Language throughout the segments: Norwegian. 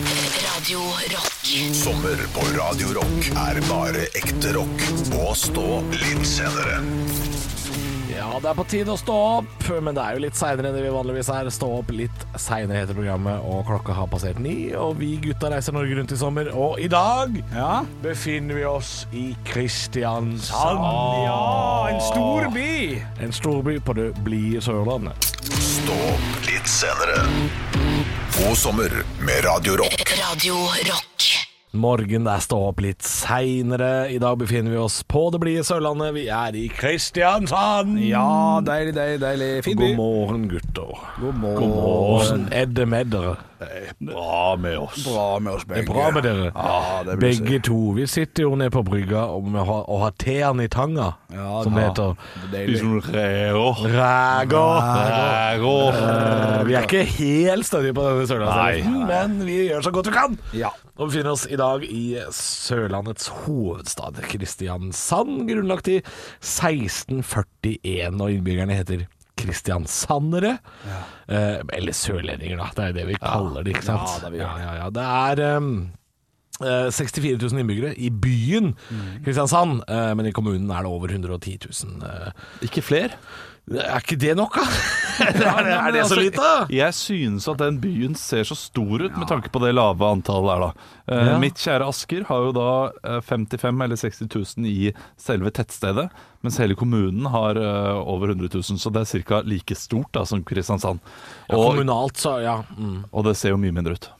Radio Rock. Sommer på Radio Rock er bare ekte rock. Og stå litt senere. Ja, det er på tide å stå opp, men det er jo litt seinere enn det vi vanligvis er. Stå opp litt seinere heter programmet, og klokka har passert ni. Og vi gutta reiser Norge rundt i sommer, og i dag Ja. befinner vi oss i An, Kristiansand. ja, en stor by. En storby på det blide Sørlandet. Stå opp litt senere. God sommer med Radio Rock. Radio Rock. Morgen det er stå opp litt seinere. I dag befinner vi oss på det blide Sørlandet. Vi er i Kristiansand. Ja, deilig, deilig, deilig. Fin by. God morgen, gutter. God God morgen. morgen. Er det med dere? Bra med oss. Bra med oss begge. Det er bra med dere. Ja, det blir Begge to. Vi sitter jo nede på brygga og, vi har, og har teen i tanga, Ja, som ja. det heter. Det er deilig. Ræger. Eh, Vi er ikke helt stødige på denne sørlandsdialekten, men vi gjør så godt vi kan. Ja. Og vi befinner oss i dag i Sørlandets hovedstad, Kristiansand, grunnlagt i 1641, og innbyggerne heter Kristiansandere, eh, eller sørlendinger da, det er jo det vi kaller det, ikke sant? Ja, det vi ja, gjør ja, ja. Det er em, eh, 64 000 innbyggere i byen Mm. Kristiansand, eh, men i kommunen er det over 110 000. eh. Ikke flere. Er ikke det nok, da? er, det, er det så Altså, lite? da? Jeg synes at den byen ser så stor ut med tanke på det lave antallet der, da. Eh, Ja. Mitt kjære Asker har jo da eh, 55 000 eller 60 000 i selve tettstedet, mens hele kommunen har eh, over 100 000, så det er ca. like stort da som Kristiansand. Ja, Og, kommunalt, så ja. Mm, og det ser jo mye mindre ut.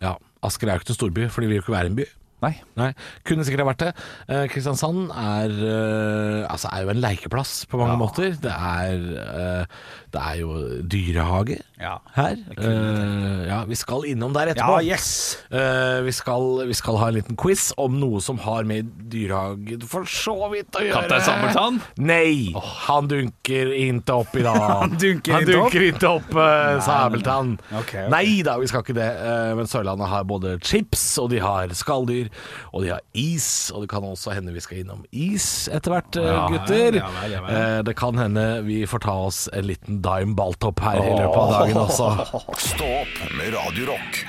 ja. Asker er jo ikke en storby, for de vil jo ikke være en by. Nei. Nei, Kunne sikkert ha vært det. Eh, Kristiansand er, eh, altså er jo en lekeplass på mange måter. Det er, eh, det er jo dyrehage Ja. her. Eh, ja, vi skal innom der etterpå. Ja, yes. Eh, vi, skal, vi skal ha en liten quiz om noe som har med dyrehage for så vidt å gjøre. Kaptein Sabeltann? Nei, han dunker ikke opp i dag. Han dunker Han ikke opp? dunker ikke opp, eh, Sabeltann. Ok, ok. Nei da, vi skal ikke det. Eh, Men Sørlandet har både chips, og de har skalldyr, og de har is. Og det kan også hende vi skal innom is etter hvert, eh, gutter. ja vel, ja vel. Eh, Det kan hende vi får ta oss en liten dime balltopp her i løpet av dagen også. Stå opp med Radio Rock.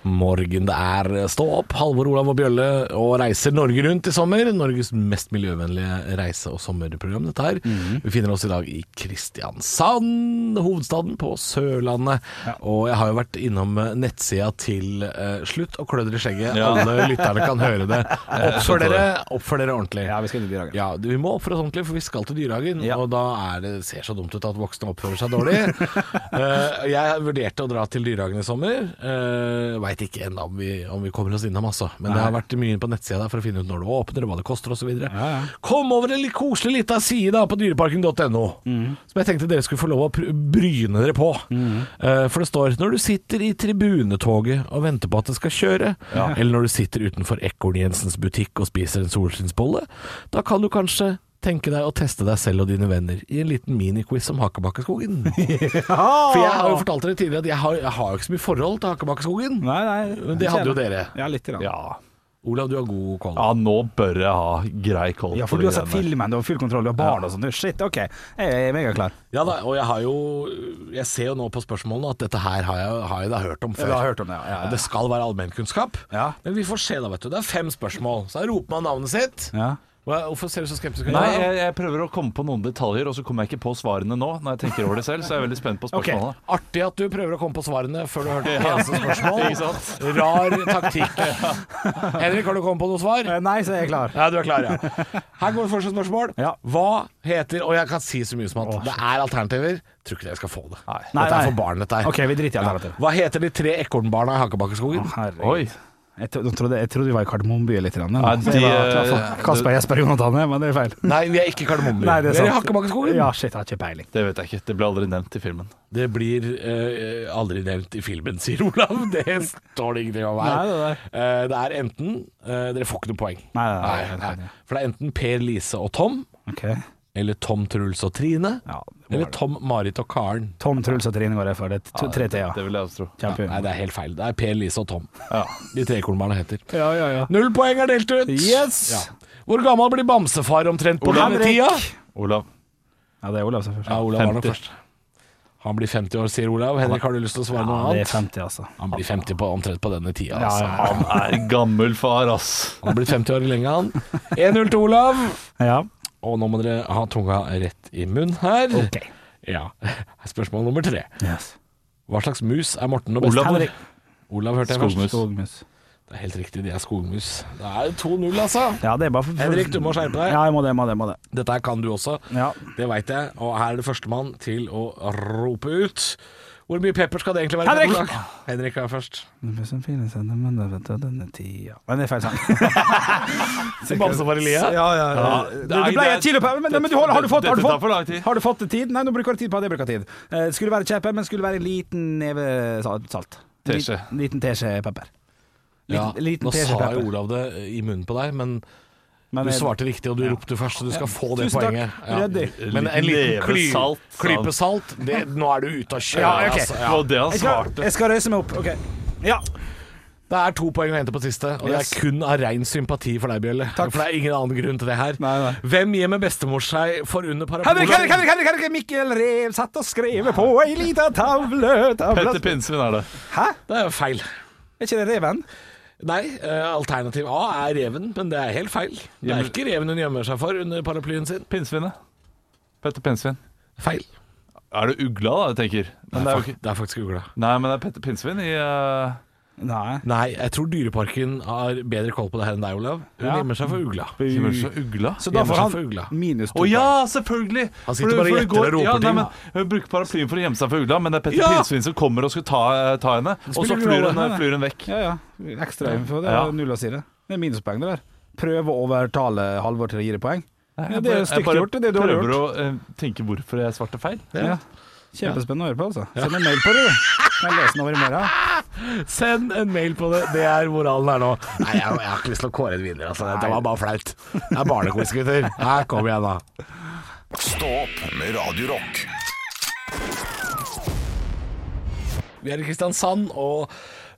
Morgen det er eh, stå opp. Halvor Olav og Bjølle og reiser Norge rundt i sommer. Norges mest miljøvennlige reise- og sommerprogram, dette her. Mhm. Vi finner oss i dag i Kristiansand, hovedstaden på Sørlandet. Og jeg har jo vært innom eh, nettsida til eh, Slutt å klø dere i skjegget. Alle lytterne kan høre det. Oppfør dere, oppfør dere ordentlig. Ja, vi skal inn i dyrehagen. Ja, vi må oppføre oss ordentlig, for vi skal til dyrehagen. Ja. Og da er det, ser så dumt ut at voksne oppfører seg dårlig. Eh, jeg vurderte å dra til dyrehagen i sommer. Uh, Veit ikke ennå om, vi- om vi kommer oss innom, altså. Men det har vært mye på nettsida der for å finne ut når det åpner, og hva det koster osv. videre ja. Kom over en litt koselig lita side da på dyreparken.no, som jeg tenkte dere skulle få lov å pr- bryne dere på. Eh, for det står 'Når du sitter i tribunetoget og venter på at det skal kjøre', eller 'når du sitter utenfor Ekorn-Jensens butikk og spiser en solskinnsbolle', da kan du kanskje tenke deg å teste deg selv og dine venner i en liten miniquiz om Hakebakkeskogen. For jeg har jo fortalt dere tidligere at jeg har, jeg har jo ikke så mye forhold til Hakebakkeskogen. Nei, nei. Men det hadde jo dere. Ja, litt. Grann. Ja. Ja. Olav, du har god koll. ja, nå bør jeg ha grei koll for du har sett filmen, du har full kontroll, du har barn og sånn. Du, Shit, OK. Jeg er megaklar. Ja da, og jeg har jo Jeg ser jo nå på spørsmålene at dette her har jeg, har jeg da hørt om før. Du har hørt om det, ja, ja, ja. Og det skal være allmennkunnskap. Ja. Men vi får se, da, vet du. Det er fem spørsmål. Så her roper man navnet sitt. Ja. Hva- Hvorfor ser du så skeptisk ut? Nei, jeg, jeg prøver å komme på noen detaljer, og så kommer jeg ikke på svarene nå. Når jeg tenker over det selv, så er jeg veldig spent på Ok. spørsmålene. Artig at du prøver å komme på svarene før du har hørt et eneste Ikke spørsmål. sant? Rar taktikk. Henrik, har du kommet på noe svar? Eh, Nei, så er jeg klar. Ja, du er klar, ja. Her går første spørsmål. Ja. Hva heter Og jeg kan si så mye som at det er alternativer. Tror ikke dere skal få det. Nei, Dette nei. er for barn, dette her. OK, vi driter i alternativet. Hva heter de tre ekornbarna i Hakebakkeskogen? Oi. Jeg, tro- jeg trodde, jeg trodde vi var i Kardemommeby litt. Grann, Nei, de, Jeg var- eh, Kasper, Jesper, Jonathan, ja, men det er feil. Nei, vi er ikke i Kardemommeby. Nei, det er vi er i sant. Hakkebakkeskogen. Ja, shit, jeg har ikke peiling. Det vet jeg ikke. Det ble aldri nevnt i filmen. Det blir eh, aldri nevnt i filmen, sier Olav. Det står det ingenting om her. Nei, det Eh, det er enten eh, Dere får ikke noe poeng. Nei, nei, nei, nei, nei. For det er enten Per Lise og Tom, OK. eller Tom Truls og Trine, Ja, det må eller være det. Tom, Marit og Karen. Tom Truls og Trine går jeg for. Det er to- tre det, T-er. det vil jeg også tro. Kjempe. Nei, det er helt feil. Det er Per Lise og Tom. De tre kornbarna heter. Ja, ja, ja. Null poeng er delt ut. Yes. Ja. Hvor gammel blir bamsefar omtrent på Olav denne Henrik. tida? Olav. Ja, det er Olav som først. Ja, Olav var nok 50. først. Han blir 50 år, sier Olav. Henrik, har du lyst til å svare noe Ja, det er annet? 50, altså. Han blir 50 på omtrent på denne tida. Ja, Altså. ja, Han er gammel far, ass. Han har blitt 50 år lenge, han. 1-0 til Olav. ja. Og nå må dere ha tunga rett i munnen her. Ok. Ja. Spørsmål nummer tre. Yes. Hva slags mus er Morten og best? Olav, hvor- Henrik. Olav hørte jeg først. Skogmus. Skogmus. Det er helt riktig, de er skogmus. Det er 2-0, altså. Ja, det er bare for, for, Henrik, du må skjerpe deg. Ja, jeg må det, må det, må det. Dette her kan du også. Ja. Det veit jeg. Og her er det førstemann til å rope ut. Hvor mye pepper skal det egentlig være? Henrik! på et lag? Henrik er først. Det blir som fine sender, men det vet du, denne tida Men det er feil sang. Bamse var i lia? Ja, ja. ja. Ja, nei, Det, det ble det et er- kilo på men, men du, har, har du fått Dette har du tar fått, for lang tid. har du fått det tid? Nei, nå bruker du tid på at jeg bruker tid. Eh, skulle være kjeppe, men skulle være en liten neve sal- salt. Teskje. Liten- Liten teskje pepper. Ja, Liten, liten nå teskje sa jo pepper. Olav det i munnen på deg, men Men, du eh, svarte riktig, og du ropte først, så du skal få det Tusen takk. poenget. Ryddig. Men en liten Liten kly neve salt, sa han. klype salt det, Nå er du ute av kjøret. Ja, ok. altså, Det var det han Jeg skal, svarte. jeg skal røyse meg opp. Ok. Ja. Det er to poeng å hente på siste, og Yes. det er kun av rein sympati for deg, Bjølle. For det er ingen annen grunn til det her. Nei, nei. Hvem gjemmer bestemor seg for under Henrik, parabolen? Henrik, Henrik, Henrik, Henrik, Mikkel Rev satt og skrev på ei lita tavle, tavle. Petter Pinnsvin er det. Hæ? Det er jo feil. Er ikke det reven? Nei, eh, alternativ A er reven, men det er helt feil. Det er ikke reven hun gjemmer seg for under paraplyen sin. Pinnsvinet. Petter Pinnsvin. Feil. Er det ugla, da, jeg tenker? Men det er jo ikke... Det er faktisk ugla. Nei, men det er Petter Pinnsvin i eh, Nei. Nei, jeg tror Dyreparken har bedre koll på det her enn deg, Olav. Hun Ja. gjemmer seg for ugla. Som er så ugla? Så da Gjemmer får seg han for ugla. minus to. Å ja, selvfølgelig! Han sitter bare og det gjetter og roper ja, ting, nei, da. men, Hun bruker paraplyen for å gjemme seg for ugla, men det er Petter Ja! Pinnsvin som kommer og skal ta, eh, ta henne. Og så spiller ingen flyr rolle. hun, Nei, nei. flyr hun vekk. Ja, ja. Ekstra info. Det er Ja. jo null å si det. Det er minuspoeng, det der. Prøve å overtale Halvor til å gi deg poeng. Ja, det er jo Jeg stygt bare gjort. Det er det du har prøver å gjort. eh, tenke hvorfor jeg svarte feil. Ja. Kjempespennende å høre på, altså. Send en mail på det, du. Kan jeg lese den over i morgen? Send en mail på det. Det er moralen her nå. Nei, jeg, jeg har ikke lyst til å kåre en vinner, altså. Det var bare flaut. Det er barnequiz, gutter. Her, kom igjen, da. Stå opp med Radio Rock. Vi er i Kristiansand, og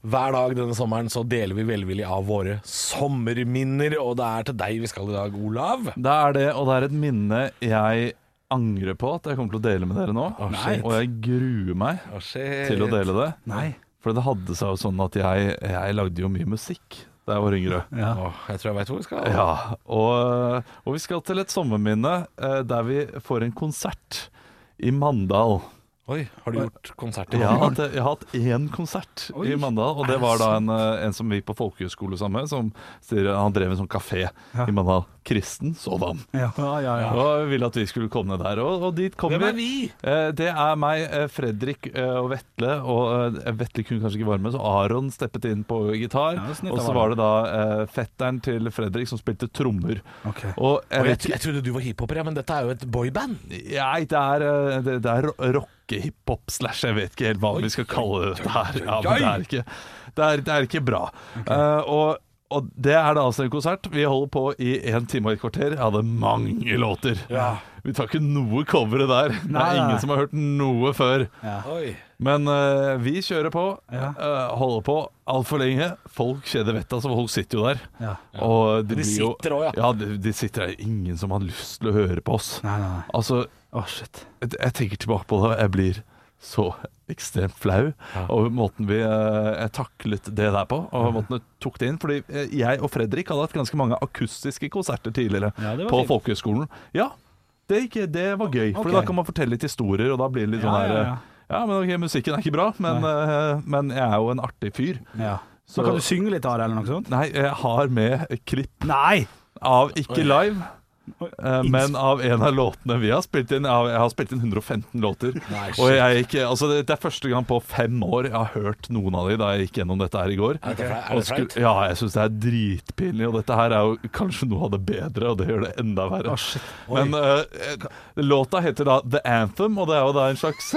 hver dag denne sommeren så deler vi velvillig av våre sommerminner. Og det er til deg vi skal i dag, Olav. Det er det, og det er et minne jeg angrer på at jeg kommer til å dele med dere nå. shit. og jeg gruer meg til å dele det. Nei. For det hadde seg jo sånn at jeg, jeg lagde jo mye musikk da jeg var yngre. Ja. Åh, jeg tror jeg veit hvor vi skal. Ja, og, og vi skal til et sommerminne eh, der vi får en konsert i Mandal. Oi, har du gjort konsert i Jeg har morgen? hatt, jeg har hatt én konsert Oi, i Mandal, og det var da en, eh, en som vi på folkehøyskole sammen med, som sier han drev en sånn kafé i Mandal. Kristen sådan. Ja, ja, ja. ja. Og ville at vi skulle komme ned der, og, og dit kom Hvem er vi. vi? Eh, Det er meg, eh, Fredrik eh, og Vetle. Og eh, Vetle kunne kanskje ikke være med, så Aron steppet inn på gitar. Ja, det er snilt og av så var det da eh, fetteren til Fredrik som spilte trommer. Ok. Og jeg Jeg, vet jeg trodde du var hiphoper, ja, men dette er jo et boyband. Nei, det er, eh, det, det er ro- rocke-hiphop slash Jeg vet ikke helt hva vi skal kalle det her. Ja, men det er ikke, det er, det er ikke bra. Eh, og, og det er da altså en konsert. Vi holder på i en time og et kvarter. Jeg hadde mange låter. Vi tar ikke noe coveret der. det Nei, er nei. ingen som har hørt noe før. Oi. Men eh, vi kjører på. Ja. eh, holder på altfor lenge. Folk kjeder vettet av, så folk sitter jo der. Ja. Og de, De blir jo- sitter også, ja. Ja, de, de sitter der. Ingen som har lyst til å høre på oss. Nei, nei, nei. Altså, Å, shit. jeg jeg tenker tilbake på det, og jeg blir så ekstremt flau over måten vi eh, jeg taklet det der på. Og Mhm. måten jeg tok det inn Fordi eh, jeg og Fredrik hadde hatt ganske mange akustiske konserter tidligere Ja, det var på fint. folkehøgskolen. Ja, det, gikk, det var gøy, for Ok. da kan man fortelle litt historier, og da blir det litt Ja, sånn her ja, eh, ja. ja, men ok, musikken er ikke bra, men, eh, men jeg er jo en artig fyr. Ja. Så- Så kan du synge litt av det, eller noe sånt? Nei, jeg har med et klipp Nei! av ikke live, Oi. eh, men av en av låtene vi har spilt inn. Jeg har- Jeg har spilt inn 115 låter. Nei, og jeg gikk, altså det, det er første gang på fem år jeg har hørt noen av de da jeg gikk gjennom dette her i går. Er det flaut? Er Og det flaut? skulle- Ja, jeg syns det er dritpinlig, og dette her er jo kanskje noe av det bedre, og det gjør det enda verre. Men eh, låta heter da The Anthem, og det er jo da en slags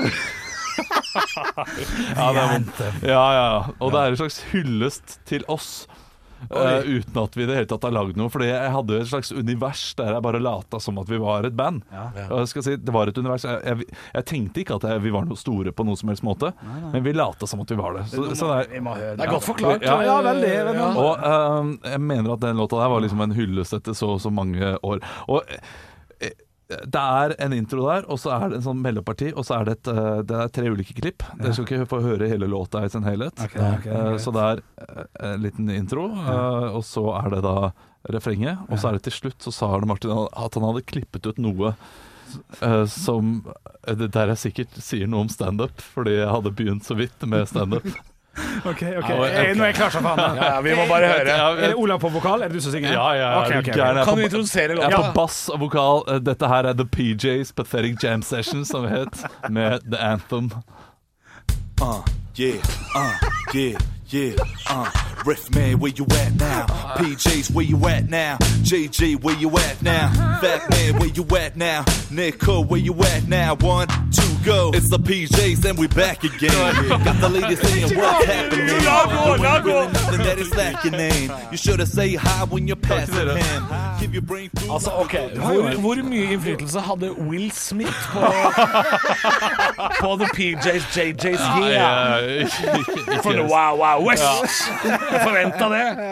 ja, det er vondt. Ja, ja. Og det er en slags hyllest til oss. eh, uten at vi i det hele tatt har lagd noe. Fordi jeg hadde jo et slags univers der jeg bare lata som at vi var et band. Og jeg skal si, det var et univers Jeg, jeg, jeg tenkte ikke at jeg, vi var noe store på noen som helst måte, men vi lata som at vi var det. Så, så det er, Sånn Vi må høre Det er godt forklart. Ja, ja, veldig, veldig. Ja. og ehm, eh, jeg mener at den låta der var liksom en hyllest etter så og så mange år. Og eh, det er en intro der, og så er det en sånn meldeparti, og så er det, et, eh, det er tre ulike klipp. Dere skal ikke få høre hele låta i sin helhet. Ok, Eh, ok, greit. Så det er eh, en liten intro, eh, og så er det da refrenget. Og så er det til slutt, så sa Arne Martin at han hadde klippet ut noe eh, som eh, Det der jeg sikkert sier noe om standup, fordi jeg hadde begynt så vidt med standup. Ok, ok, Ja, ok. Eh, Nå er jeg klar som faen. da. Eh, Ja, vi må bare høre. Ja, Er det jeg- Olav på vokal? Er det du som synger? ja, ja, Ok, er ok, du ok. gæren? Jeg er Kan på- du introdusere Jeg er på låta? bass og vokal. Eh, Dette her er The PJs Pathetic Jam Session, som det het, med The Anthem. Uh, yeah, uh, yeah, yeah, uh. Riff man, where you at now? PJs, where you at now? JG, where you at now? Fat man, where you at now? Nico, where you at now? One, two, go. It's the PJs and we back again. Got the ladies saying what's happening. Really nothing that is lacking name. You should have say hi when you're passing him. Give your brain food. Altså, ok hvor, hvor mye innflytelse hadde Will Smith på På The PJs, JJs, yeah? Eh, ikke- ikke- For the Wow Wow West! Jeg forventa det.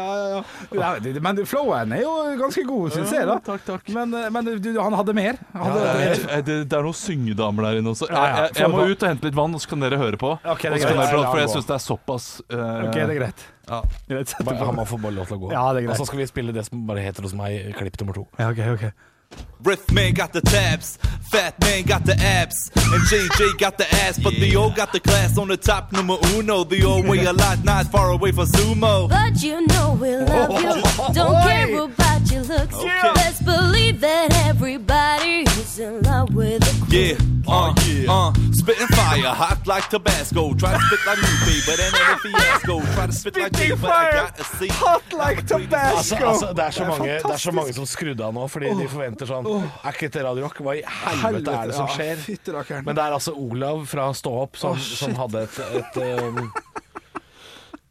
Ja, det- Men du, flowen er jo ganske god, syns jeg. da takk, takk. Men, eh, men du, han hadde mer. Han Ja, hadde, det, er- Eh, det, det er noen syngedamer der inne også. Jeg, Ja, ja. jeg, jeg må ut og hente litt vann, og så kan dere høre på. Ok, det er og så kan greit. dere prate, for Ja, jeg ja, syns det er såpass eh, Ok, det er greit. Ja. Greit, sett det på. Han må få bare lov til å gå. Ja, det er greit. Og så skal vi spille det som bare heter hos meg, klipp nummer to. Ja, ok, ok. Riff man got the tabs, fat man got the abs, and JJ got the ass, but the O got the class on the top number uno. The O way a lot, not far away from sumo. But you know we love you. Don't care about your looks. Okay. Best believe that everybody is in love with a queen. Yeah, uh, yeah, uh, spitting fire, hot like Tabasco. Try to spit like me, babe, but ain't a fiasco. Try to spit like me, Spitting but fire, I got a C. hot like Altså, Tabasco. altså, det, er så mange, det er så mange som skrudde av nå, fordi de forventer sånn Er ikke dette Radio Rock? Hva i helvete er det som Helvete, ja, skjer? fytti rakkeren. Men det er altså Olav fra Stå opp som, Å, shit. som hadde et, et, um,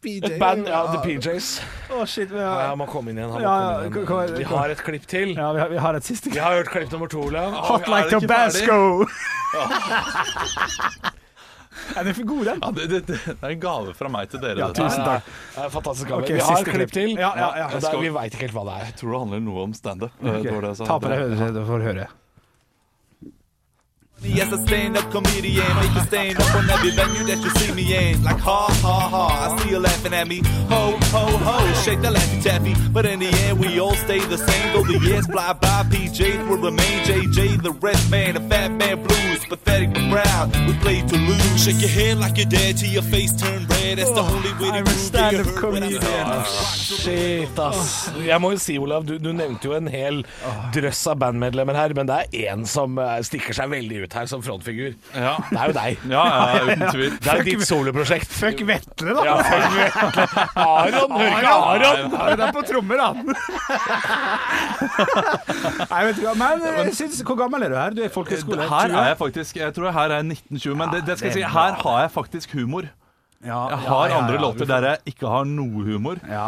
PJ. et band, ja, The PJs. Å, shit, vi Ja, har, Han må komme inn igjen. Han må Ja, ja, kom- komme kom- inn igjen. Vi har et klipp til. ja, vi har, vi har et siste. Vi har hørt klipp nummer to, Olav. Hot like det ikke Tabasco. Er den for god, den? Ja, det, det, det er en gave fra meg til dere. Ja, dette her. tusen takk. Det er Fantastisk gammel. Ok, vi har siste et klipp til. Ja, ja, ja. og det er- vi veit ikke helt hva det er. Jeg tror det handler noe om standup. Eh, det var det jeg sa. Ta på deg høyre, du får høre. Yes, a stand-up comedian, make a stand up on every venue that you see me in. Like ha ha ha, I see you laughing at me. Ho ho ho, shake that laffy taffy. But in the end, we all stay the same. Though the years fly by, PJs will remain JJ, the red man, the fat man blues, pathetic but proud. We play to lose. Shake your head like you're dead till your face turn red. That's the only way to Oh, I'm a prove that you stand-up heard what I'm comedian. saying. Shit, ass. Jeg må jo si, Olav, du, du nevnte jo en hel drøss av bandmedlemmer her, men det er én som eh, stikker seg veldig ut her som frontfigur. Ja. Det sånn er jo deg. Ja, ja, uten tvil. Det er jo ditt soloprosjekt. Fuck Vetle, da! Ja, fuck Vetle. Aron, hører ikke Aron! Ja, den er på trommer, da. Nei, vet du hva, men jeg synes, Hvor gammel er du her? Du er i folkehøyskole? Her er jeg faktisk Jeg tror her er jeg 1920, men det, det skal jeg si, her har jeg faktisk humor. Jeg har andre låter der jeg ikke har noe humor. Ja,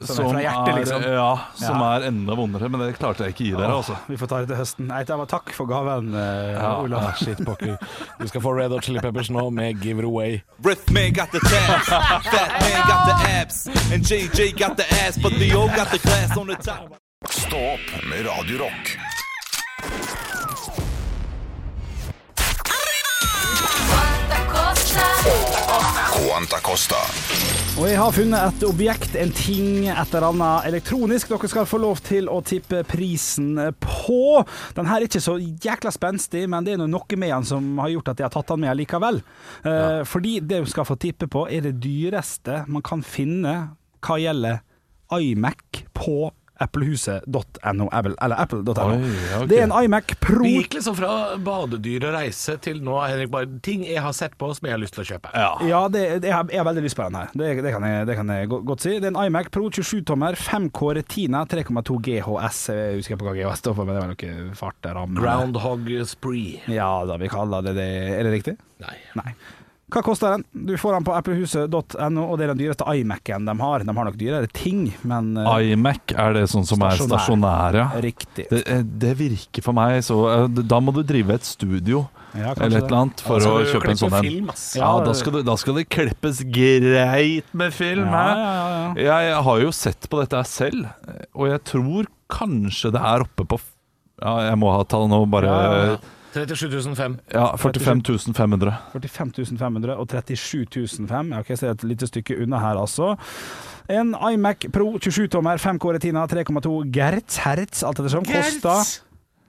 Som, eh, er fra hjertet, liksom. ja, som er enda vondere, men det klarte jeg ikke å gi dere, altså. vi får ta det til høsten. Nei, det var takk for gaven, eh, Olav. Ja, shit, pokker. Du skal få Red Hot Chili Peppers nå med Give It Away. Riff man got the tabs, fat man got the abs, and JJ got the ass, but the O got the class on the top. Stå opp med Radio Rock. Quanta Costa. Og jeg har funnet et objekt, en ting, et eller annet elektronisk dere skal få lov til å tippe prisen på. Den her er ikke så jækla spenstig, men det er nå noe med den som har gjort at jeg har tatt den med likevel. Eh, Fordi det du skal få tippe på, er det dyreste man kan finne hva gjelder iMac på applehuset.no. Apple, eller apple.no. Oi, ok. Det er en iMac Pro. Vi gikk liksom fra badedyr og reise til nå, Henrik, bare ting jeg har sett på som jeg har lyst til å kjøpe. Ja. Ja, det, det- jeg, har, jeg har veldig lyst på den her. Det, det, kan jeg, det kan jeg go- godt si. Det er en iMac Pro 27-tommer, 5K Retina, 3,2 GHS. Jeg husker på hva GHS står for, men det var noe farteramme. Groundhog spree. Ja da, vi kaller det det. Er det riktig? Nei. Nei. Hva koster den? Du får den på applehuset.no, og det er den dyreste iMac-en de har. De har nok dyrere ting, men eh, iMac, er det sånn som er Stasjonær. stasjonær, ja? riktig. Det, eh, det virker for meg så eh, Da må du drive et studio Ja, kanskje eller et det. eller annet for Altså, å du kjøpe en klipper sånn en. film, ass. Ja, da skal, det, da skal det klippes greit med film. Ja, hæ? ja, ja, ja. eh, Jeg har jo sett på dette her selv, og jeg tror kanskje det er oppe på f- Ja, jeg må ha tall nå, bare Ja, Ja, ja, 37 500. 45 500. 45 500 og 37 500. Ok, så det er et lite stykke unna her, altså. En iMac Pro 27-tommer, 5K Retina, 3,2 Gertz, hertz, alt ettersom, koster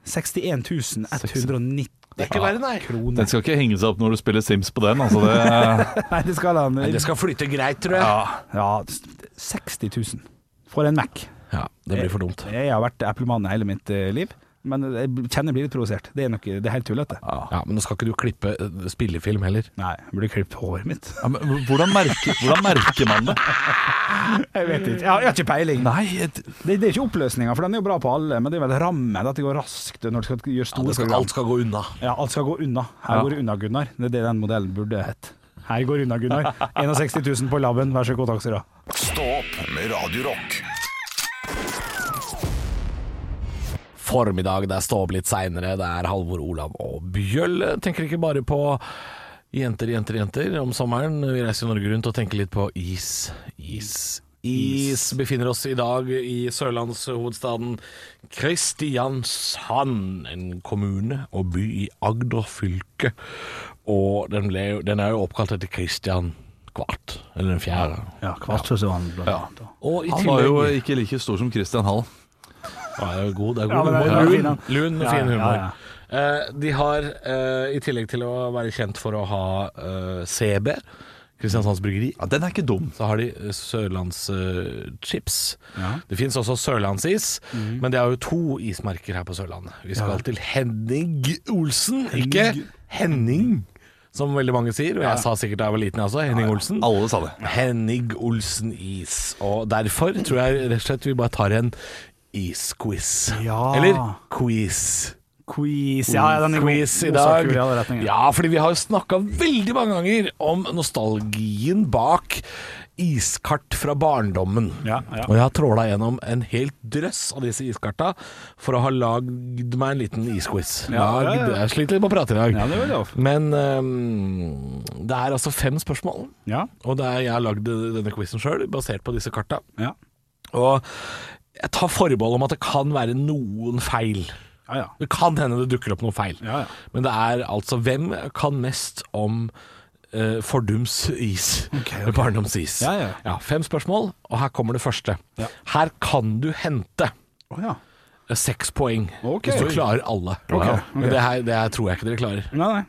61 190 Det er ikke verre, nei. Den kroner. skal ikke henge seg opp når du spiller Sims på den. Altså det, Nei, det skal han. Det skal flyte greit, tror jeg. ja. Ja, 60 000 for en Mac. Ja, det blir for dumt. Jeg har vært Apple-mann hele mitt eh, liv, men jeg kjenner jeg blir litt provosert. Det er, nok, det er helt tullete. Ja, Men nå skal ikke du klippe eh, spillefilm heller. Nei, jeg burde klippet håret mitt. Ja, men hvordan, merker, hvordan merker man det? Jeg vet ikke. Jeg har, jeg har ikke peiling. Nei, et- Det, det er ikke oppløsninga, for den er jo bra på alle, men det er vel rammen, at det går raskt når du skal gjøre Ja, store det skal, program. alt skal gå unna. Ja, alt skal gå unna. Her Ja. går det unna, Gunnar. Det er det den modellen burde hett. Her går det unna, Gunnar. 61 000 på laben, vær så god, takk skal du ha. Stå opp med Radio Rock. Formiddag, det er stå opp litt seinere, det er Halvor, Olav og Bjølle. Tenker ikke bare på jenter, jenter, jenter om sommeren. Vi reiser Norge rundt og tenker litt på is, is. Is befinner oss i dag i sørlandshovedstaden Kristiansand, en kommune og by i Agder fylke. Og den, ble, jo- den er jo oppkalt etter Kristian Kvart, eller den fjerde. Ja, Kvartsøsvann blant annet. Og i han var jo ikke like stor som Christian Hall. Ja, det er jo god, det er Ja, god men det er humor. fin, Lun, han. lun Ja, fin ja, humor. ja. Eh, de har, eh, i tillegg til å være kjent for å ha eh, CB, Kristiansands Bryggeri, Ja, den er ikke dum. så har de eh, sørlandschips. Det fins også sørlandsis, Mhm. men det er jo to ismerker her på Sørlandet. Vi skal til Henning Olsen, ikke Henning, som veldig mange sier. Og jeg sa sikkert da jeg var liten, jeg også. Henning Olsen. Alle sa det. Henning Olsen is. Og derfor tror jeg rett og slett vi bare tar en isquiz. Ja. Eller quiz. Quiz. Ja, ja, den er god. quiz i God dag. sak, kul i alle retninger. Ja, fordi vi har jo snakka veldig mange ganger om nostalgien bak iskart fra barndommen. Ja, ja. Og jeg har tråla gjennom en hel drøss av disse iskarta for å ha lagd meg en liten isquiz. Ja, ja, ja. Lagd- Jeg sliter litt med å prate i dag. Ja, det er vel lov. Men ehm, det er altså fem spørsmål. Ja. Og det er, jeg har lagd denne quizen sjøl, basert på disse karta. Ja. Og jeg tar forbehold om at det kan være noen feil. Ja, ja. Det kan hende det dukker opp noen feil. Ja, ja. Men det er altså Hvem kan mest om eh, fordums is? Ok, ok. Barndomsis. Ja, ja. fem spørsmål, og her kommer det første. Ja. Her kan du hente eh, Å, ja. seks poeng Ok. hvis du klarer alle. Ok, Men ok. det her, det her tror jeg ikke dere klarer. Nei, nei.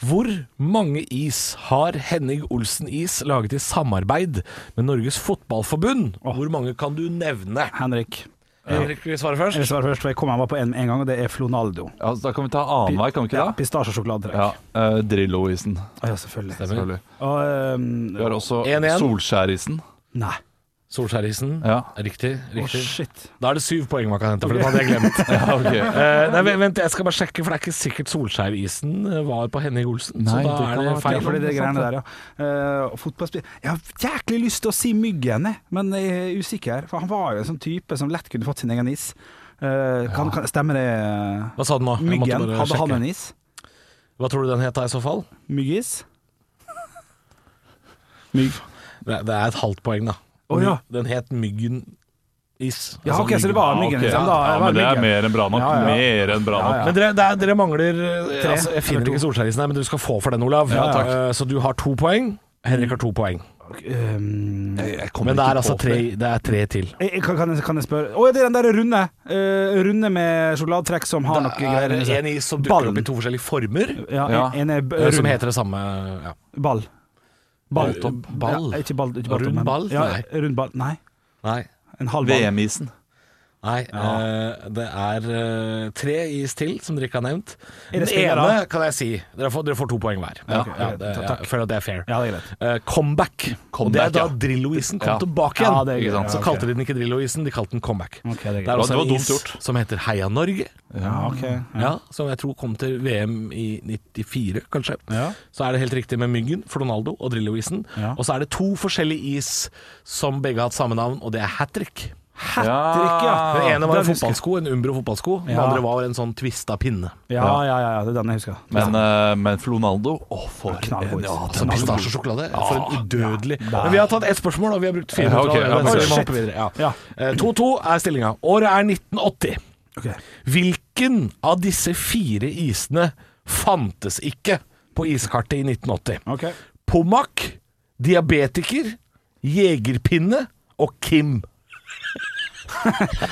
Hvor mange is har Henning Olsen Is laget i samarbeid med Norges Fotballforbund? Hvor mange kan du nevne? Henrik. Henrik vil svare først. Jeg vil svare først, for jeg kom meg bare på en med en gang, og det er Flonaldo. Ja, altså, da kan vi ta annenvei, kan vi ikke Ja, det? Pistasje- og sjokoladetrekk. Ja, eh, Drillo-isen. Å, ja, selvfølgelig. selvfølgelig. Og Vi ehm, har også 1-1. Solskjær-isen. Nei. Solskjærisen. Eh. Ja. Riktig. Å, riktig. shit. Da er det syv poeng man kan hente, for den hadde jeg glemt. Ja, ok. Eh, nei, vent- vent, jeg skal bare sjekke, for det er ikke sikkert Solskjærisen eh, var på Henning Olsen. Nei, så da det kan er det ha vært- feil. Ja, fordi det greiene der, ja. Eh, og fotballspill Jeg har jæklig lyst til å si Myggen, jeg, men jeg er usikker. For han var jo en sånn type som lett kunne fått sin egen is. Eh, kan, kan, stemmer det? Hva sa du nå? Jeg måtte Myggen, bare hadde han sjekke. en is? Hva tror du den het da, i så fall? Myggis? Det det er et halvt poeng, da. Å, ja. Den het Myggen Is. Ja, Altså ok, så Myggen. det var Ja, ok. Myggen, liksom. Da, Ja, men det er Myggen. mer enn bra nok. Ja, ja. Mer enn bra nok. Ja. Men dere, det er, dere mangler eh, Tre. altså, Jeg finner Eller ikke Solskjærisen her, men du skal få for den, Olav. Ja, takk. Eh, Så du har to poeng. Henrik har to poeng. Ehm, Men det er altså tre, det er tre til. jeg- jeg- kan, kan jeg- kan jeg spørre Å ja, det er den der runde. eh, runde med sjokoladetrekk som har noe greier inni seg. en is som dukker Ballen. opp i to forskjellige former, Ja, Ja. en, en er b- eh, som rund. heter det samme ja. Ball. Ball. Ja, ikke ball, ikke ball Rund men- ball? Ja, Nei. rund ball. Nei. Nei. En halv ball. VM-isen. Nei, eh, det er eh, tre is til som dere ikke har nevnt. Er Den det spillere? ene kan jeg si. Dere får, dere får to poeng hver. Ja, ok, ja, det, ta- takk. jeg føler at det er fair. Ja, det er greit. Eh, comeback. Og det Comeback, er da ja. Drillo-isen kom Ja. tilbake igjen. Ja, det er Ikke sant? greit. Så kalte de den ikke Drillo-isen, de kalte den comeback. Ok, det er greit. er også Det var en dumt is gjort. som heter Heia Norge, Ja, ok. ja. som jeg tror kom til VM i 94, kanskje. Ja. Så er det helt riktig med Myggen, Flonaldo og Drillo-isen. Ja. Og så er det to forskjellige is som begge har hatt samme navn, og det er hat trick. Hattrick, ja. Den ene var en den husker jeg. fotballsko, en Umbro fotballsko. Den Ja. andre var en sånn tvista pinne. Ja, ja, ja, ja, det er den jeg husker. Men, eh, men Flonaldo Å, for Knallgod. en ja, Altså sånn. pistasje og sjokolade. For en udødelig Men vi har tatt ett spørsmål, og vi har brukt fire Ja, ok, minutter. ja, men allerede, så sorry. vi må hoppe videre, ja. Ja. Eh, 2-2 er stillinga. Året er 1980. Ok. Hvilken av disse fire isene fantes ikke på iskartet i 1980? Ok. Pommac, diabetiker, jegerpinne og Kim.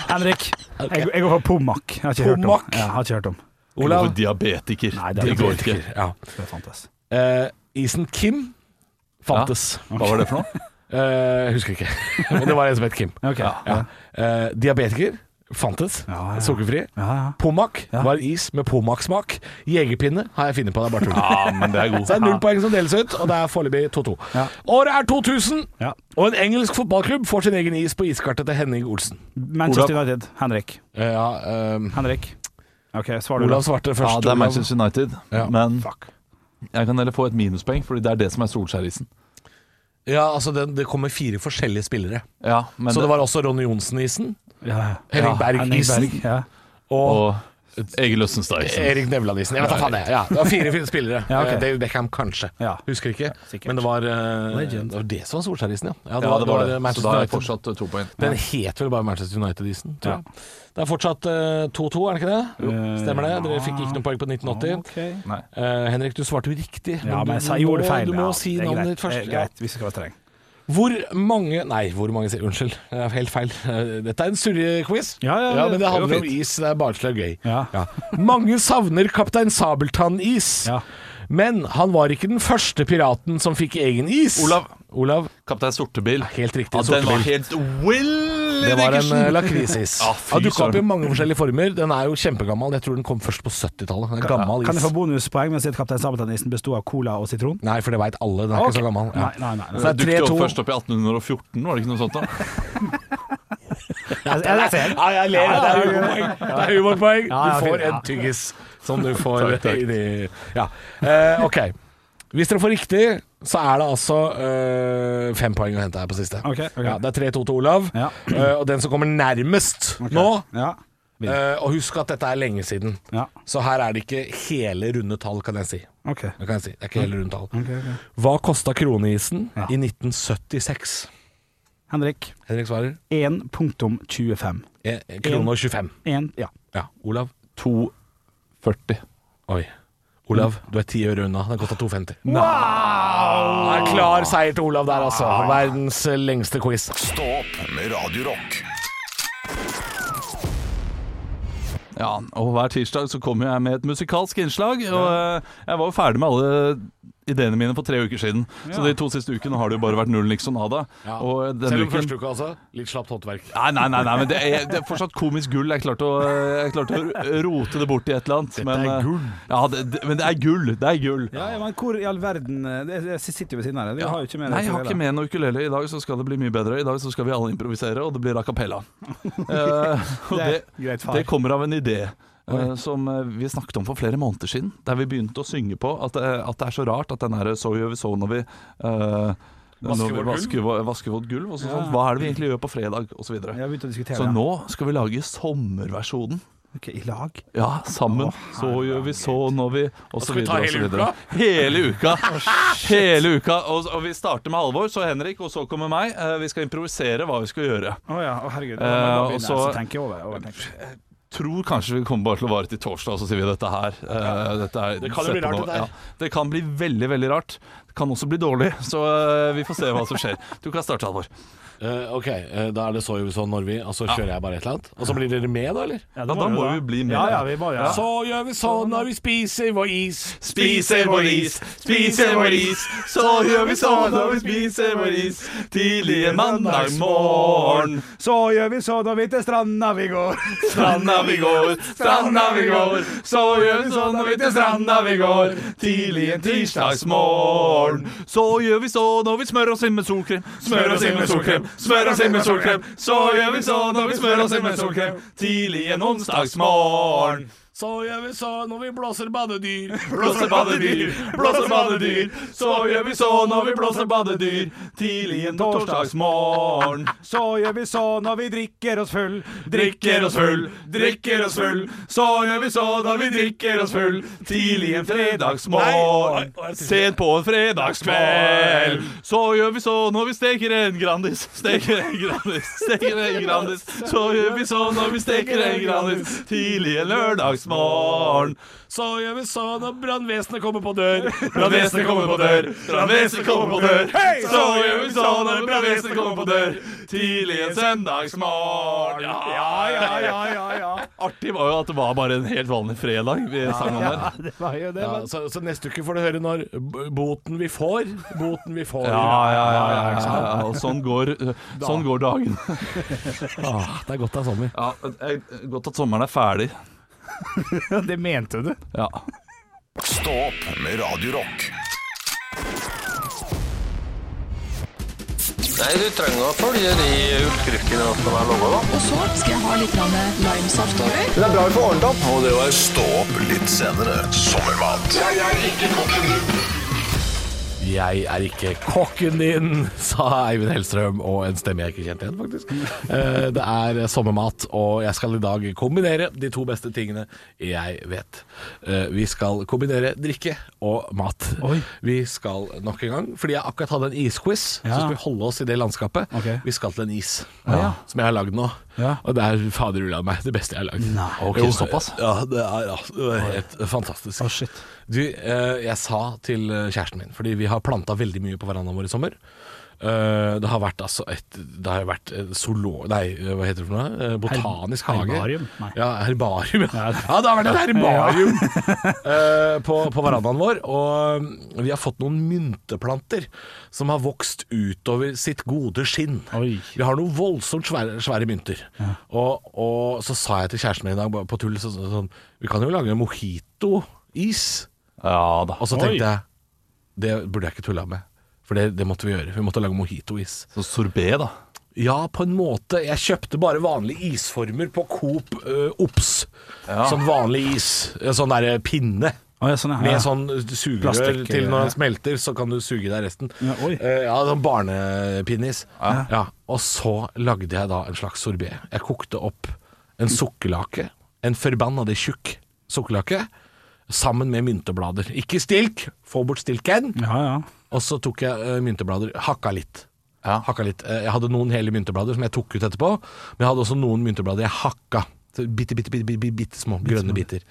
Henrik, jeg, jeg går for Pommac. Jeg har ikke hørt Pommac? om. Ja, jeg har ikke hørt om. Hvorfor Olav? diabetiker? Nei, det, går ikke. Diabetiker, Ja. Det fantes. Eh, isen Kim fantes. Hva var det for noe? Eh, jeg husker ikke. Men det var en som het Kim. Ok. Ja, Ja. Eh, diabetiker fantes. Ja, ja. Sukkerfri. ja. ja. Pommac var en is med Pommac-smak. Jegerpinne har jeg funnet på. Det er bare tull. Ja, men det er god. Så det er null poeng som deles ut, og det er foreløpig 2-2. Ja. Året er 2000, Ja. og en engelsk fotballklubb får sin egen is på iskartet til Henning Olsen. Manchester United. Henrik. Eh, Ja, ehm, Henrik. OK, svar du. Olav da. svarte først. Ja, det er Olav. Manchester United, Ja. men jeg kan heller få et minuspoeng, Fordi det er det som er Solskjær-isen. Ja, altså det, det kommer fire forskjellige spillere. Ja, men Så det var også Ronny Johnsen-isen, Ja, ja. Henning Ja, Henrik Berg-isen Berg. Ja. og og Egil Østenstad-isen. Erik Nevland-isen. Jeg vet da faen, jeg. Ja, det var fire fine spillere. Ja, ok. Eh, David Beckham, kanskje. Ja. Husker ikke. sikkert. Men det var, eh, Legend. det var det som var Solskjær-isen, ja. ja, det Ja, var, det var det. Så Manchester da er det United. fortsatt to poeng. Den het vel bare Manchester United-isen, tror Ja. Eh, jeg. Det er fortsatt eh, 2-2, er det ikke det? Stemmer det? Dere fikk ikke noen poeng på 1980. Ok. Nei. Eh, Henrik, du svarte jo riktig. Ja, men jeg du, sa, du må- gjorde det feil. Du må ja. si Det er navnet greit. ditt først. Det er greit, hvis vi skal være streng. Ja. Hvor mange Nei, hvor mange sier Unnskyld, det er helt feil. Eh, Dette er en surrequiz. Ja, ja, men det det handler går om fint. is. Det er barnslig og gøy. Ja. Mange savner Kaptein Sabeltann-is, Ja. men han var ikke den første piraten som fikk egen is. Olav. Olav Kaptein Sortebil. Helt riktig, Ja, den var Sortebil. helt Willy Det var en Dickerson. sånn. eh, lakrisis. Ja, ja, fy Den dukka opp i søren. mange forskjellige former. Den er jo kjempegammel. Jeg tror den kom først på 70-tallet. Den er Gammel Kan jeg is. få bonuspoeng med å si at Kaptein Sabeltann-isen besto av cola og sitron? Nei, for det veit alle. Den er Ok. ikke så gammel. Ja. Nei, nei, nei. Så Det det dukket er opp 3-2. først opp i 1814, var det ikke noe sånt? da? Jeg, jeg, jeg ser. Ja, jeg ler. Det er humorpoeng. Det er humorpoeng. Ja, ja, Du får fint. en Ja. tyggis som du får inni Ja. Eh, ok. Hvis dere får riktig, så er det altså eh, fem poeng å hente her på siste. Ok, ok. Ja, det er 3-2 til Olav. Ja. Eh, og den som kommer nærmest nå Ja. eh, Og husk at dette er lenge siden, Ja. så her er det ikke hele runde tall, kan jeg si. OK. Det kan jeg si. Det er ikke hele runde tall. ok. Hva kosta kroneisen Ja. i 1976? Henrik. Henrik svarer 1.25. eh, krone og 25. 1 Ja. Ja. Olav? 240. Oi. Olav, du er ti øre unna. Den kosta 2,50. Wow! Det er klar seier til Olav der, altså. Verdens lengste quiz. Stå opp med Radio Rock. Ja, og hver tirsdag så kommer jeg med et musikalsk innslag. Og eh, jeg var jo ferdig med alle ideene mine for tre uker siden. Så de to siste ukene har det jo bare vært null liksom nada. Og Selv denne om uken første uka, altså. Litt slapt håndverk. Nei, nei, nei, nei, men det er, det er fortsatt komisk gull. Jeg klarte å, jeg klarte å rote det bort i et eller annet. Dette men, er eh, gull. Ja, det, det, men det er gull. Det er gull. Ja, ja, men hvor i all verden eh, det- Jeg sitter jo ved siden av deg. Du har jo ikke med Nei, jeg har ikke det. med noe ukulele. I dag så skal det bli mye bedre. I dag så skal vi alle improvisere, og det blir a cappella. Eh, og Det er det, greit, far. det kommer av en idé eh, som eh, vi snakket om for flere måneder siden. Der vi begynte å synge på at, eh, at det er så rart at den her So gjør vi so når vi eh, Vasker når vi vårt vasker vår- vasker vårt gulv. Og så, sånn, Hva er det vi egentlig gjør på fredag? Og så, Jeg videre. har begynt å diskutere så det. nå skal vi lage sommerversjonen. Ok, I lag? Ja, sammen. så gjør vi så når vi Og så skal vi ta videre og så hele videre. Hele uka. hele uka. Og, og vi starter med Halvor, så Henrik, og så kommer meg. Eh, vi skal improvisere hva vi skal gjøre. Å ja, å herregud. Eh, Uh, og og så- så tenker jeg over det. overtenker. Tror kanskje vi kommer bare til å vare til torsdag, og så sier vi dette her. Eh, dette er, Det kan jo bli sett på rart, nå. dette her. Ja, det kan bli veldig, veldig rart. Det kan også bli dårlig, så eh, vi får se hva som skjer. Du kan starte, Halvor. Eh, ok, eh, da er det så gjør vi sånn når vi Og så kjører jeg bare et eller annet. Og så blir dere med, da, eller? Ja, da må vi bli med. Ja, ja, vi må ja. Så gjør vi sånn når vi spiser vår is. Spiser vår is, spiser vår is, så gjør vi sånn når vi spiser vår is. Tidlig en mandagsmorgen, Så gjør vi så når vi til stranda vi går. stranda vi går, stranda vi går. Så gjør vi sånn når vi til stranda vi går. Tidlig en tirsdagsmorgen. Så gjør vi så når vi smører oss inn med solkrem. Smører oss inn med solkrem, smører oss inn med solkrem. Så gjør vi så når vi smører oss inn med solkrem. Tidlig en onsdagsmorgen. Så gjør vi så når vi blåser badedyr. Blåser badedyr, blåser badedyr. Så gjør vi så når vi blåser badedyr. Tidlig en torsdagsmorgen. Så gjør vi så når vi drikker oss full. Drikker oss full, drikker oss full. Så gjør vi så når vi drikker oss full. Tidlig en fredagsmorgen. Sent på en fredagskveld. Så gjør vi så når vi steker en Grandis. Steker en Grandis, steker en Grandis. Så gjør vi så når vi steker en Grandis. Tidlig en lørdagsmorgen. Så gjør vi så når brannvesenet kommer på dør. Brannvesenet kommer på dør, brannvesenet kommer på dør. Så gjør vi sånn når brannvesenet kommer på dør. Tidlig en søndagsmorgen. Ja, ja, ja, ja, Artig var jo at det var bare en helt vanlig fredag vi sang om der. Det var jo det, Ja, men så, så neste uke får du høre når b- boten vi får. Boten vi får. Ja, ja, ja. ikke ja, sant? ja. Og sånn går, sånn går dagen. Ah, det er godt det er sommer. Ja, jeg- Godt at sommeren er ferdig. det mente du. Ja. Stå opp med Radio Rock. Nei, du trenger å følge de utskriftene som er lova, da. Og så skal jeg ha litt grann limesaft over. Det er bra vi får ordnet opp. Og det var Stå opp litt senere. Sommermat Jeg er ikke kokken din, sa Eivind Hellstrøm, og en stemme jeg ikke kjente igjen, faktisk. Eh, Det er sommermat, og jeg skal i dag kombinere de to beste tingene jeg vet. Eh, Vi skal kombinere drikke og mat. Oi. Vi skal nok en gang, fordi jeg akkurat hadde en isquiz, så Ja. skal vi holde oss i det landskapet. Ok. Vi skal til en is ja. som jeg har lagd nå, Ja. og det er fader ulla meg det beste jeg har lagd. Nei. Ok, Jo, såpass. Ja, det er, ja, det er helt eh, fantastisk. Å, shit. Du, eh, jeg sa til eh, kjæresten min, fordi vi har planta veldig mye på verandaen vår i sommer. Eh, det har vært altså et Det har vært eh, zoolo... Nei, eh, hva heter det for noe? Eh, Botanisk hage. herbarium? Nei. Ja, herbarium. Ja. ja, det har vært et herbarium eh, på, på verandaen vår. Og mm, vi har fått noen mynteplanter som har vokst utover sitt gode skinn. Oi. Vi har noen voldsomt svære, svære mynter. Og, og så sa jeg til kjæresten min i dag bare på tull så, så, sånn Vi kan jo lage mojito-is. Ja da. Og så Oi. tenkte jeg Det burde jeg ikke tulla med For det, det måtte vi gjøre Vi måtte lage mojitois Så sorbé, da. Ja, på en måte Jeg kjøpte bare vanlige isformer på Coop eh, Ops Sånn vanlig is eh, Sånn der eh, pinne Å, ja, sånn, ja. Med sånn sugerør Plastikk, eh, til ja. når den smelter Så kan du suge deg resten Ja, oi. Eh, ja sånn barnepinnis ja. Og så lagde jeg da en slags sorbet Jeg kokte opp en sukkerlake En forbannet tjukk sukkerlake Sammen med mynteblader Ikke stilk, få bort stilken Ja, ja. og så tok jeg eh, mynteblader, hakka litt. Ja. Hakka litt. Eh, jeg hadde noen hele mynteblader som jeg tok ut etterpå, men jeg hadde også noen mynteblader jeg hakka. Så Bitte, bitte, bitte, bitte, bitte, bitte små grønne biter.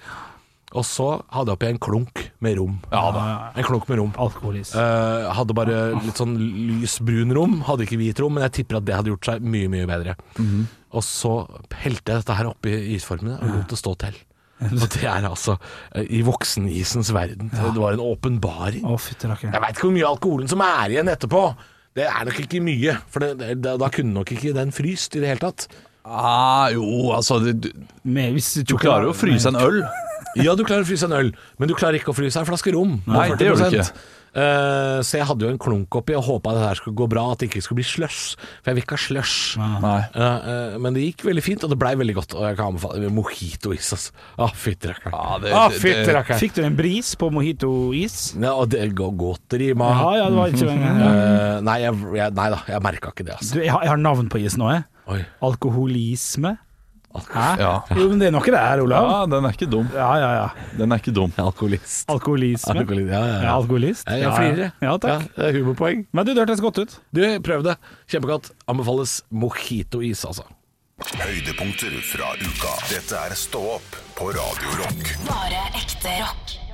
Og så hadde jeg oppi en klunk med rom. En klunk med rom. Alkoholis. Eh, hadde bare litt sånn lys brun rom, hadde ikke hvit rom, men jeg tipper at det hadde gjort seg mye, mye bedre. Og så helte jeg dette her oppi isformene og lot det stå til. Og det er altså eh, i voksenisens verden. Det var en åpenbaring. Å, fytti rakkeren. Jeg veit ikke hvor mye alkoholen som er igjen etterpå. Det er nok ikke mye, for det, det, da- da kunne nok ikke den fryst i det hele tatt. Ah, jo, altså Du, du- Med- hvis du klarer jo å fryse en øl. Ja, du klarer å fryse en øl, men du klarer ikke å fryse en flaske rom. på Nei, det gjør du 40%. ikke. Eh, så jeg hadde jo en klunk oppi og håpa det her skulle gå bra, at det ikke skulle bli slush. For jeg vil ikke ha slush. Nei. Eh, eh, men det gikk veldig fint, og det blei veldig godt. Og jeg kan anbefale mojito-is, altså. Å, fytti Ja, rakkeren. det- Å, det- fytti rakkeren. Fikk du en bris på mojito-is? Ja, og det går godt, Rima. Ja, ja, det var ikke lenge. Eh, nei, jeg, jeg, nei da, jeg merka ikke det, altså. Du, jeg, har, jeg har navn på isen òg, jeg. Oi. Alkoholisme. Hæ? Ja. Jo, men det er noe der, Olav. ja, den er ikke dum. Ja, ja, ja. Den er ikke dum. Alkoholist. Alkoholisme. Alkoholist. Ja, ja, Jeg er ja. alkoholist. Jeg, jeg flirer, jeg. Ja, takk. det er humorpoeng. Men du, det hørtes godt ut. Du, prøv det. Kjempegodt. Anbefales mojito-is, altså. Høydepunkter fra uka. Dette er Stå opp på Radio Rock. Bare ekte rock.